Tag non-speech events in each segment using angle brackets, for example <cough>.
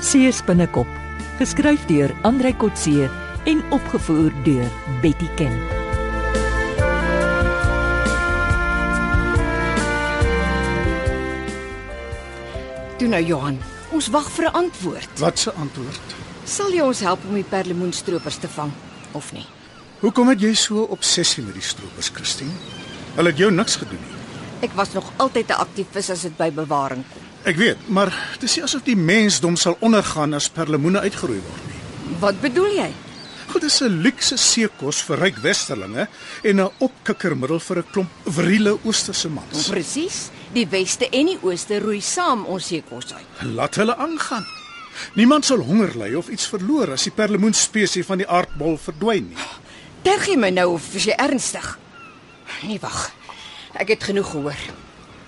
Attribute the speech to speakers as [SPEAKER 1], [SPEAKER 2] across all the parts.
[SPEAKER 1] Coetzee se binnekop, geskryf deur Andrei Coetzee en opgevoer deur Betty Ken.
[SPEAKER 2] Toe nou Johan, ons wag vir 'n antwoord.
[SPEAKER 3] Wat se antwoord?
[SPEAKER 2] Sal jy ons help om die perlemoenstroopers te vang of nie?
[SPEAKER 3] Hoekom het jy so obsessie met die stroopers, Christine? Hulle het jou niks gedoen nie.
[SPEAKER 2] Ek was nog altyd 'n aktivis as dit by bewaring kom.
[SPEAKER 3] Ek weet, maar dit is nie asof die mensdom sal ondergaan as perlemoene uitgeroei word nie.
[SPEAKER 2] Wat bedoel jy?
[SPEAKER 3] Goed, dis 'n luukse seekos vir ryk westerlinge en 'n opkikkermiddel vir 'n klomp virile oosterse mans.
[SPEAKER 2] Presies, die weste en die ooste roei saam ons seekos uit.
[SPEAKER 3] Laat hulle aangaan. Niemand sal honger ly of iets verloor as die perlemoenspesie van die aardbol verdwyn nie.
[SPEAKER 2] Terg jy my nou of is jy ernstig? Nee, wag. Ek het genoeg gehoor.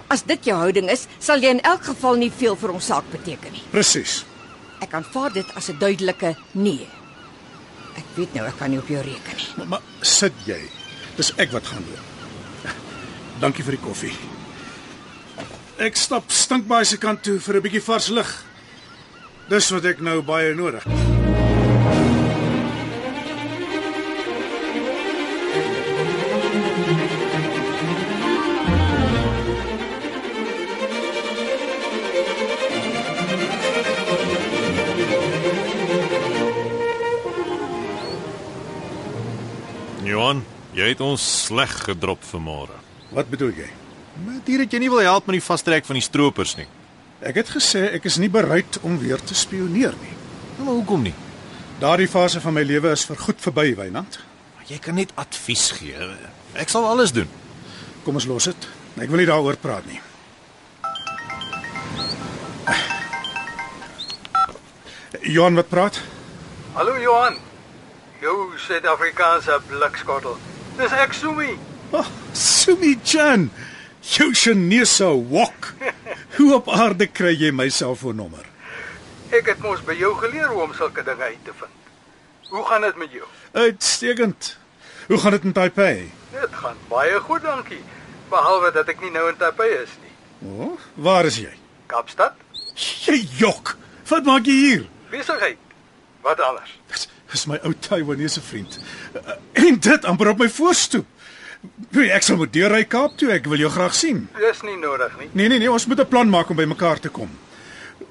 [SPEAKER 2] As dit jou houding is, sal jy in elk geval nie veel vir ons saak beteken nie.
[SPEAKER 3] Presies.
[SPEAKER 2] Ek aanvaar dit as 'n duidelike nee. Ek weet nou ek kan nie op jou reken nie.
[SPEAKER 3] Maar, maar sit jy. Dis ek wat gaan doen. Dankie vir die koffie. Ek stap stinkbaai se kant toe vir 'n bietjie vars lug. Dis wat ek nou baie nodig het.
[SPEAKER 4] Johan, jy het ons sleg gedrop vanmôre.
[SPEAKER 3] Wat bedoel jy?
[SPEAKER 4] Met hier dat jy nie wil help met die vastrek van die stroopers nie.
[SPEAKER 3] Ek het gesê ek is nie bereid om weer te spioneer nie.
[SPEAKER 4] Nou, maar hoekom nie?
[SPEAKER 3] Daardie fase van my lewe is vir goed verby, Wynand.
[SPEAKER 4] Jy kan net advies gee. Ek sal alles doen.
[SPEAKER 3] Kom ons los dit. Ek wil nie daaroor praat nie. Johan wat praat?
[SPEAKER 5] Hallo Johan. Jou Suid-Afrikaanse blikskottel. Dis ek Sumi.
[SPEAKER 3] Oh, Sumi Chan. Jou Chinese wok. Hoe op aarde kry jy my selfoonnommer?
[SPEAKER 5] Ek het mos by jou geleer hoe om sulke dinge uit te vind. Hoe gaan dit met jou?
[SPEAKER 3] Uitstekend. Hoe gaan dit in Taipei?
[SPEAKER 5] Dit gaan baie goed, dankie. Behalwe dat ek nie nou in Taipei is nie.
[SPEAKER 3] O, oh, waar is jy?
[SPEAKER 5] Kaapstad?
[SPEAKER 3] Jy jok. Wat maak jy hier?
[SPEAKER 5] Besigheid. Wat anders?
[SPEAKER 3] Dis dis my ou Taiwanese vriend. Eh, En dit amper op my voorstoep. Wie ek sal moet deurry Kaap toe, ek wil jou graag sien.
[SPEAKER 5] Dis nie nodig nie.
[SPEAKER 3] Nee nee nee, ons moet 'n plan maak om by mekaar te kom.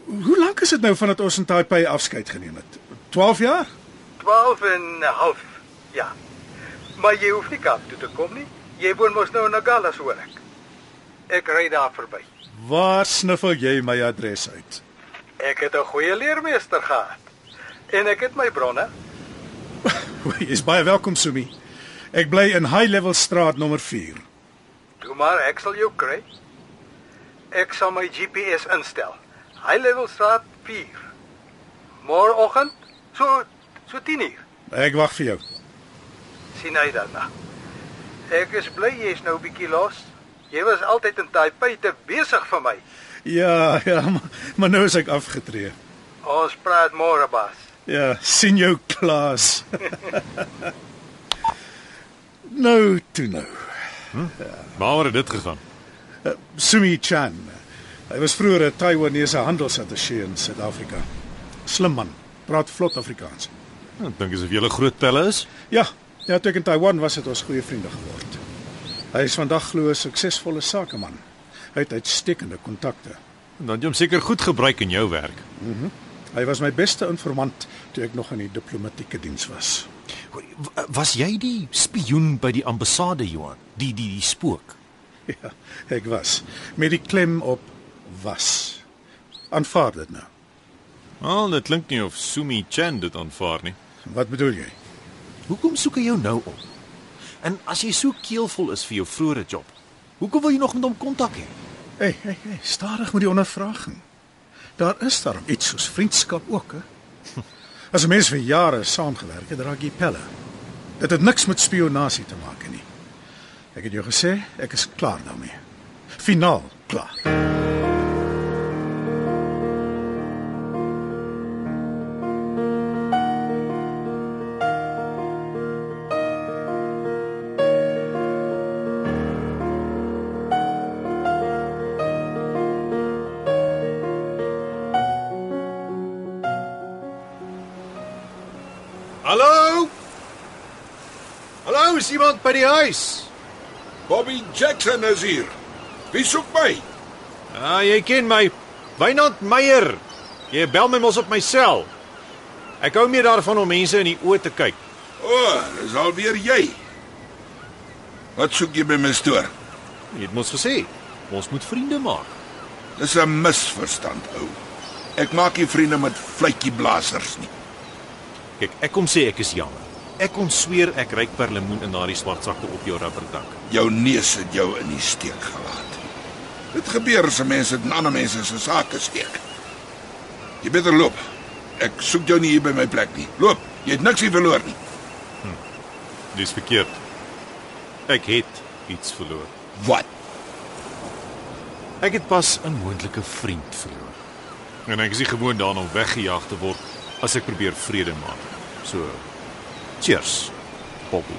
[SPEAKER 3] Hoe lank is dit nou vandat ons in Taipei afskeid geneem het? 12 jaar?
[SPEAKER 5] 12 en 'n half. Ja. Maar jy hoef nie Kaap toe te kom nie. Jy woon mos nou in Nagala se hoor ek. Ek ry daar verby.
[SPEAKER 3] Waar sniffel jy my adres uit? <laughs>
[SPEAKER 5] Ek het 'n goeie leermeester gehad. En ek het my bronne.
[SPEAKER 3] Jy is baie welkom, Sumi. Ek bly in High Level Straat nommer 4.
[SPEAKER 5] Toe maar, ek sal jou kry. Ek sal my GPS instel. High Level Straat 4. Môreoggend so so 10uur.
[SPEAKER 3] Ek wag vir jou.
[SPEAKER 5] Sien uit daarna. Ek is bly jy's nou bietjie los. Jy was altyd in Taipei te besig vir my.
[SPEAKER 3] Ja, <laughs> ja, maar, maar nou is ek afgetree.
[SPEAKER 5] Ons praat môre, baas.
[SPEAKER 3] Ja, sien jou klas. <laughs> nou toe nou.
[SPEAKER 4] Waar het dit gegaan?
[SPEAKER 3] Sumi Chan. Hy was vroeër 'n Taiwanese handelsattaché in Suid-Afrika. Slim man, praat vlot Afrikaans.
[SPEAKER 4] Ek dink asof jy 'n groot pelle is.
[SPEAKER 3] Ja, ja, toe ek in Taiwan was het ons goeie vriende geword. Hy is vandag glo 'n suksesvolle sakeman. Hy het uitstekende kontakte.
[SPEAKER 4] Dan het jy hom seker goed gebruik in jou werk.
[SPEAKER 3] Hy was my beste informant toe ek nog in die diplomatieke diens was. <laughs>
[SPEAKER 4] Was jy die spioen by die ambassade, Johan? Die die die spook.
[SPEAKER 3] Ja, ek was met die klem op was. Aanvaar dit nou.
[SPEAKER 4] Al, dit klink nie of Sumi Chan dit aanvaar nie.
[SPEAKER 3] Wat bedoel jy?
[SPEAKER 4] Hoekom soek hy jou nou op? En as jy so keelvol is vir jou vroeëre job, hoekom wil jy nog met hom kontak hê?
[SPEAKER 3] Hey, hey, hey, stadig met die ondervraging. Daar is daarom iets soos vriendskap ook, hè? As 'n mens vir jare saamgewerk het, raak jy pelle. Dit het niks met spionasie te maak nie. Ek het jou gesê, ek is klaar daarmee. Finaal klaar.
[SPEAKER 4] Hallo? Hallo, is iemand by die huis?
[SPEAKER 6] Bobby Jackson is hier. Wie soek my?
[SPEAKER 4] Ah, jy ken my. Wynand Meyer. Jy bel my mos op my sel. Ek hou meer daarvan om mense in die oë te kyk.
[SPEAKER 6] O, oh, dis alweer jy. Wat soek jy by my stoor?
[SPEAKER 4] Jy het mos gesê, ons moet vriende maak.
[SPEAKER 6] Dis 'n misverstand, ou. Ek maak nie vriende met vletjieblaasers nie.
[SPEAKER 4] Kyk, ek kom sê ek is jammer. Ek kon sweer ek ryk perlemoen in daardie swart sakte op jou rubberdak.
[SPEAKER 6] Jou neus het jou in die steek gelaat. Dit gebeur as mense dit in ander mense se sake steek. Jy beter loop. Ek soek jou nie hier by my plek nie. Loop. Jy het niks hier verloor nie.
[SPEAKER 4] Dis verkeerd. Ek het iets verloor.
[SPEAKER 6] Wat?
[SPEAKER 4] Ek het pas 'n moontlike vriend verloor. En ek is nie gewoond daaraan om weggejaag te word as ek probeer vrede maak. So cheers, Bobby.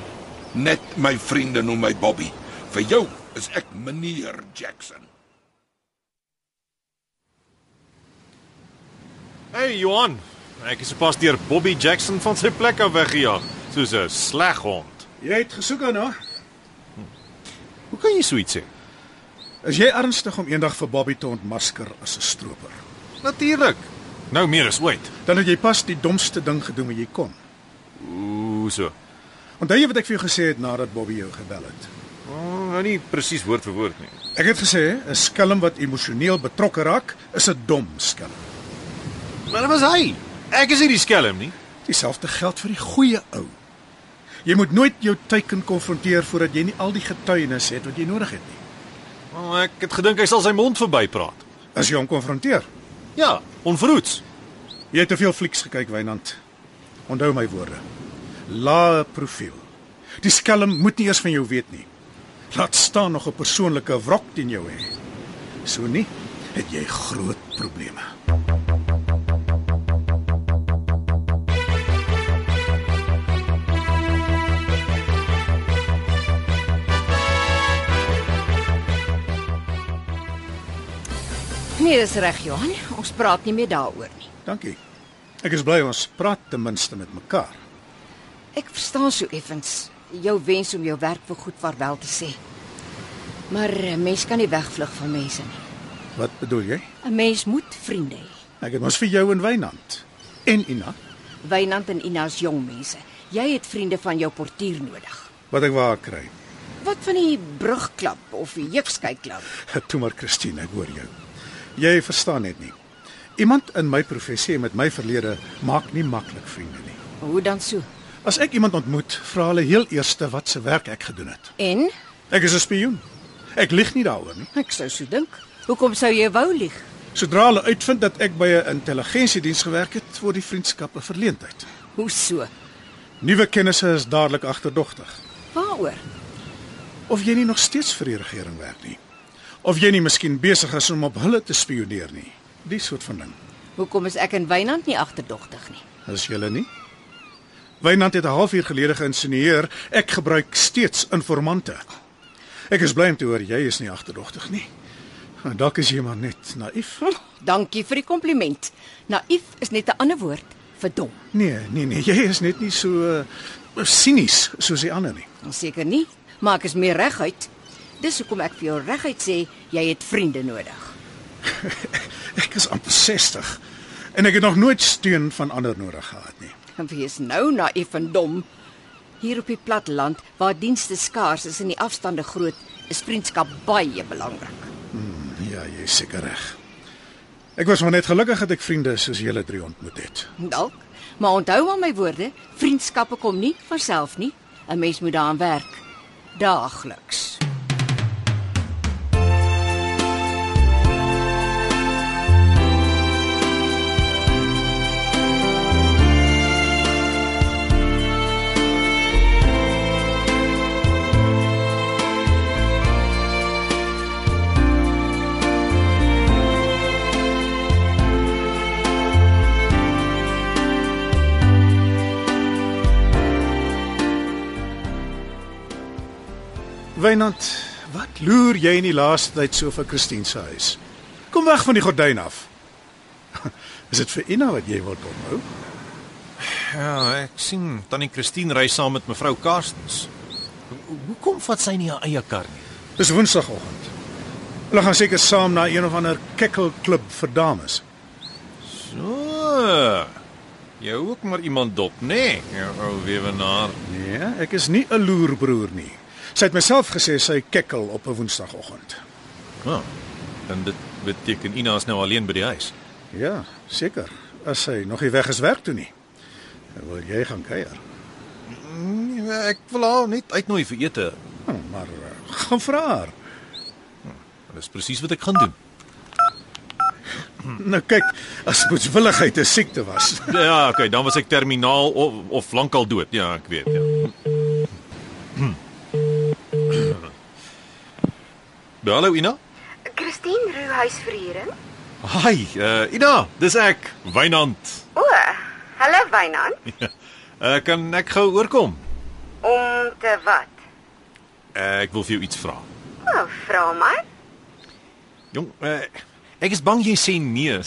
[SPEAKER 6] Net my vriende noem my Bobby. Vir jou is ek meneer Jackson.
[SPEAKER 4] Hey Johan, ek is sopas deur Bobby Jackson van sy plek af weggejaag, soos 'n sleg hond.
[SPEAKER 3] Jy het gesoek daarna.
[SPEAKER 4] Hoe kan jy so iets sê?
[SPEAKER 3] Is jy ernstig om eendag vir Bobby te ontmasker as 'n stroper?
[SPEAKER 4] Natuurlik. Nou meer as ooit.
[SPEAKER 3] Dan het jy pas die domste ding gedoen wat jy kon.
[SPEAKER 4] Ooh, so.
[SPEAKER 3] Onthou jy wat ek vir jou gesê het nadat Bobby jou gebel het?
[SPEAKER 4] Oh, nou nie presies woord vir woord nie.
[SPEAKER 3] Ek het gesê 'n skelm wat emosioneel betrokke raak, is 'n dom skelm.
[SPEAKER 4] Maar dit was hy. Ek is hierdie skelm nie.
[SPEAKER 3] Dieselfde geld vir die goeie ou. Jy moet nooit jou teiken konfronteer voordat jy nie al die getuienis het wat jy nodig het nie.
[SPEAKER 4] Oh, ek het gedink hy sal sy mond verbypraat.
[SPEAKER 3] As jy hom konfronteer,
[SPEAKER 4] Ja, onverhoeds.
[SPEAKER 3] Jy het te veel flieks gekyk, Wynand. Onthou my woorde. Lae profiel. Die skelm moet nie eers van jou weet nie. Laat staan nog 'n persoonlike wrok teen jou hê. So nie, het jy groot probleme.
[SPEAKER 2] Nee, dis reg, Johan. Ons praat nie meer daaroor nie.
[SPEAKER 3] Dankie. Ek is bly ons praat ten minste met mekaar.
[SPEAKER 2] Ek verstaan so effens jou wens om jou werk vir goed vaarwel te sê. Maar 'n mens kan nie wegvlug van mense nie.
[SPEAKER 3] Wat bedoel jy?
[SPEAKER 2] 'n Mens moet vriende hê.
[SPEAKER 3] Ek het mos vir jou en Wynand en Ina
[SPEAKER 2] Wynand en Ina's jong mense. Jy het vriende van jou portier nodig.
[SPEAKER 3] wat ek waar kry.
[SPEAKER 2] Wat van die brugklap of die jeugskykklap?
[SPEAKER 3] <laughs> Toe maar Christine, ek hoor jou. Jy verstaan net nie. Iemand in my professie en met my verlede maak nie maklik vriende nie.
[SPEAKER 2] Hoe dan so?
[SPEAKER 3] As ek iemand ontmoet, vra hulle heel eers wat se werk ek gedoen het.
[SPEAKER 2] En
[SPEAKER 3] Ek is 'n spioen. Ek lieg nie daaroor nie.
[SPEAKER 2] ek sou so dink. Hoekom sou jy wou lieg?
[SPEAKER 3] Sodra hulle uitvind dat ek by 'n intelligensiediens gewerk het, word die vriendskap 'n verleentheid.
[SPEAKER 2] Hoe so?
[SPEAKER 3] Nuwe kennisse is dadelik agterdogtig.
[SPEAKER 2] Waaroor?
[SPEAKER 3] Of jy nie nog steeds vir die regering werk nie. Of jy nie miskien besig is om op hulle te spioneer nie. Die soort van ding.
[SPEAKER 2] Hoekom is ek en Wynand nie agterdogtig nie?
[SPEAKER 3] Is julle nie? Wynand het 'n halfuur gelede geïnsinueer ek gebruik steeds informante. Ek is bly om te hoor jy is nie agterdogtig nie. Maar dalk is jy maar net naïef.
[SPEAKER 2] Dankie vir die kompliment. Naïef is net 'n ander woord vir dom.
[SPEAKER 3] Nee, nee, nee, jy is net nie so uh, sinies soos die ander nie.
[SPEAKER 2] Seker nie, maar ek is meer reguit. Dis hoekom ek vir jou reguit sê jy het vriende nodig.
[SPEAKER 3] Ek is amper 60 en ek het nog nooit steun van ander nodig gehad nie.
[SPEAKER 2] En wees nou naïef en dom. Hier op die platteland waar dienste skaars is en die afstande groot, is vriendskap baie belangrik.
[SPEAKER 3] Ja, jy is seker reg. Ek was maar net gelukkig dat ek vriende soos julle drie ontmoet het.
[SPEAKER 2] Dalk, maar onthou maar my woorde, vriendskappe kom nie van self nie. 'n Mens moet daaraan werk daagliks.
[SPEAKER 3] Wynand, wat loer jy in die laaste tyd so vir Christine se huis? Kom <laughs> weg van die gordyn af. Is dit vir Ina wat jy wil onthou?
[SPEAKER 4] Ja, ek sien tannie Christine ry saam met mevrou Karstens. Ho- Hoekom vat sy nie haar eie kar nie?
[SPEAKER 3] Dis Woensdagoggend. Hulle gaan seker saam na een of ander kekkelklub vir dames.
[SPEAKER 4] So. Jy hou ook maar iemand dop, nê? Nee? Jou ou weewenaar.
[SPEAKER 3] Nee, ek is nie 'n loerbroer nie. Sy het myself gesê sy kekkel op 'n Woensdagoggend.
[SPEAKER 4] Ja. En dit beteken Ina is nou alleen by die huis.
[SPEAKER 3] Ja, seker. As sy nog nie weg is werk toe nie. Dan wil jy gaan kuier.
[SPEAKER 4] Nee, ek wil haar net uitnooi vir ete.
[SPEAKER 3] Hm, maar eh, gaan vra haar.
[SPEAKER 4] Dis presies wat ek gaan doen.
[SPEAKER 3] Nou kyk, as moedswilligheid 'n siekte was.
[SPEAKER 4] Ja, okay, dan was ek terminaal of of lankal dood. Ja, ek weet, <clears throat> ja. Ja, Hallo Ina.
[SPEAKER 7] Christine Roo huisverhuuring.
[SPEAKER 4] Hi, uh, Ina, dis ek, Wynand. <laughs>
[SPEAKER 7] O, hallo Wynand.
[SPEAKER 4] Uh, kan ek gou oorkom?
[SPEAKER 7] Om te wat?
[SPEAKER 4] Uh, ek wil vir jou iets vra.
[SPEAKER 7] O, vra maar.
[SPEAKER 4] Jong, uh, ek is bang jy sê nee.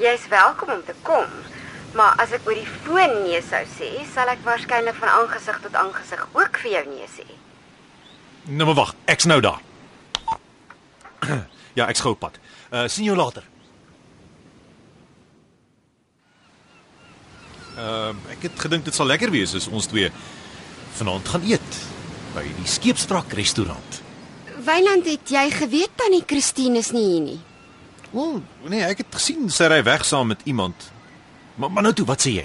[SPEAKER 7] Jy's welkom om te kom. Maar as ek oor die foon nee sou sê, sal ek waarskynlik van aangesig tot aangesig ook vir jou nee sê.
[SPEAKER 4] <laughs> Nou maar wag, ek's nou daar. <clears throat> ja, ek's gou op pad. Uh, sien jou later. Ehm uh, ek het gedink dit sal lekker wees as ons twee vanaand gaan eet by die Skeepstrak restaurant.
[SPEAKER 7] Wynand, het jy geweet tannie Christine is nie hier nie?
[SPEAKER 4] O, oh, nee, ek het gesien sy ry weg saam met iemand. Maar maar nou toe, wat sê jy?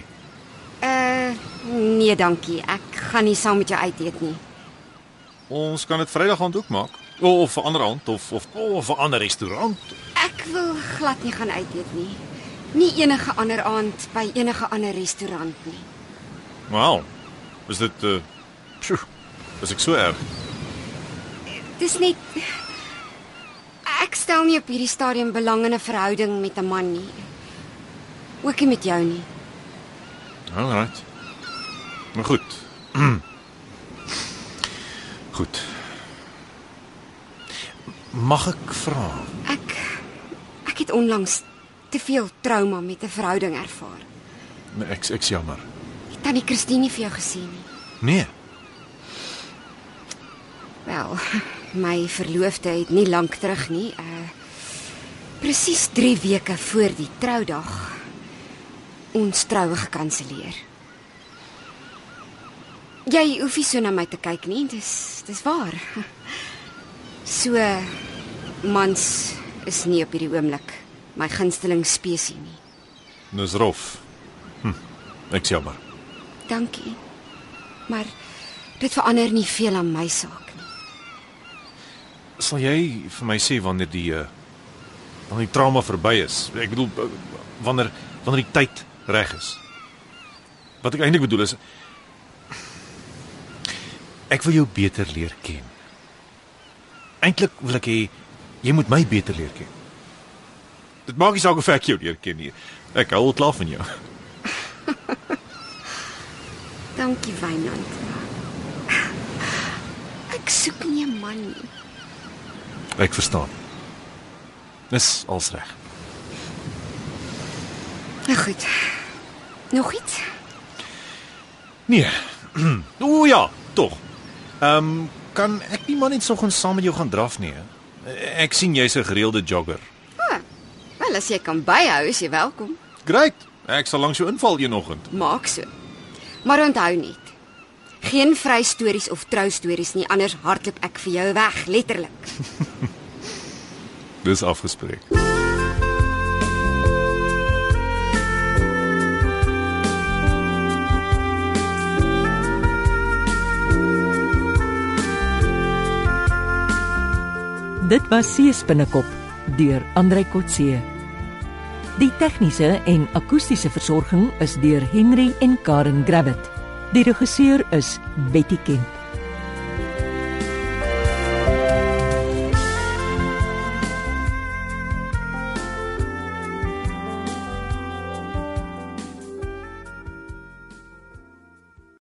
[SPEAKER 7] Uh, nee, dankie. Ek gaan nie saam met jou uit eet nie.
[SPEAKER 4] Ons kan dit Vrydag aand ook maak. O, Of 'n ander aand of of of 'n ander restaurant.
[SPEAKER 7] Ek wil glad nie gaan uit eet nie. Nie enige ander aand by enige ander restaurant nie.
[SPEAKER 4] Wow. Is dit uh pjoe, Is ek so erg?
[SPEAKER 7] Dis net ek stel nie op hierdie stadium belang in 'n verhouding met 'n man nie. Ook nie met jou nie.
[SPEAKER 4] Alright. Maar goed. <clears throat> goed. Mag ek vra?
[SPEAKER 7] Ek ek het onlangs te veel trauma met 'n verhouding ervaar.
[SPEAKER 4] Nee, ek ek's jammer.
[SPEAKER 7] Het tannie Christine nie vir jou gesê nie.
[SPEAKER 4] Nee.
[SPEAKER 7] Wel, <laughs> my verloofde het nie lank terug nie. Uh presies 3 weke voor die troudag ons troue gekanselleer. Jy hoef nie so na my te kyk nie, dis dis waar. <laughs> So mans is nie op hierdie oomblik my gunsteling spesies nie.
[SPEAKER 4] Dis rof. Hm. Ek's jammer.
[SPEAKER 7] Dankie. Maar dit verander nie veel aan my saak nie.
[SPEAKER 4] Sal jy vir my sê wanneer die eh, wanneer die trauma verby is? Ek bedoel eh, wanneer wanneer die tyd reg is. Wat ek eintlik bedoel is ek wil jou beter leer ken. Eintlik wil ek hê jy moet my beter leer ken. Dit maak nie saak of ek jou leer ken nie. Ek hou al klaar van jou. <laughs>
[SPEAKER 7] Dankie, Wynand. Ek soek nie 'n man nie.
[SPEAKER 4] Ek verstaan. Dis als reg.
[SPEAKER 7] Nou goed. Nog iets?
[SPEAKER 4] Nee. <clears throat> o ja, tog. Ehm um, kan ek nie maar net soggens saam met jou gaan draf nie. hè? Ek sien jy's 'n gereelde jogger.
[SPEAKER 7] Ah, wel as jy kan byhou, is jy welkom.
[SPEAKER 4] Great. Ek sal langs jou inval eenoggend.
[SPEAKER 7] Maak so. Maar onthou net. Geen vry stories of trou stories nie, anders hardloop ek vir jou weg, letterlik.
[SPEAKER 4] Dis afgespreek.
[SPEAKER 1] Dit was Sees binnekop deur Andrei Kotse. Die tegniese en akoestiese versorging is deur Henry en Karen Gravett. Die regisseur is Betty Kemp.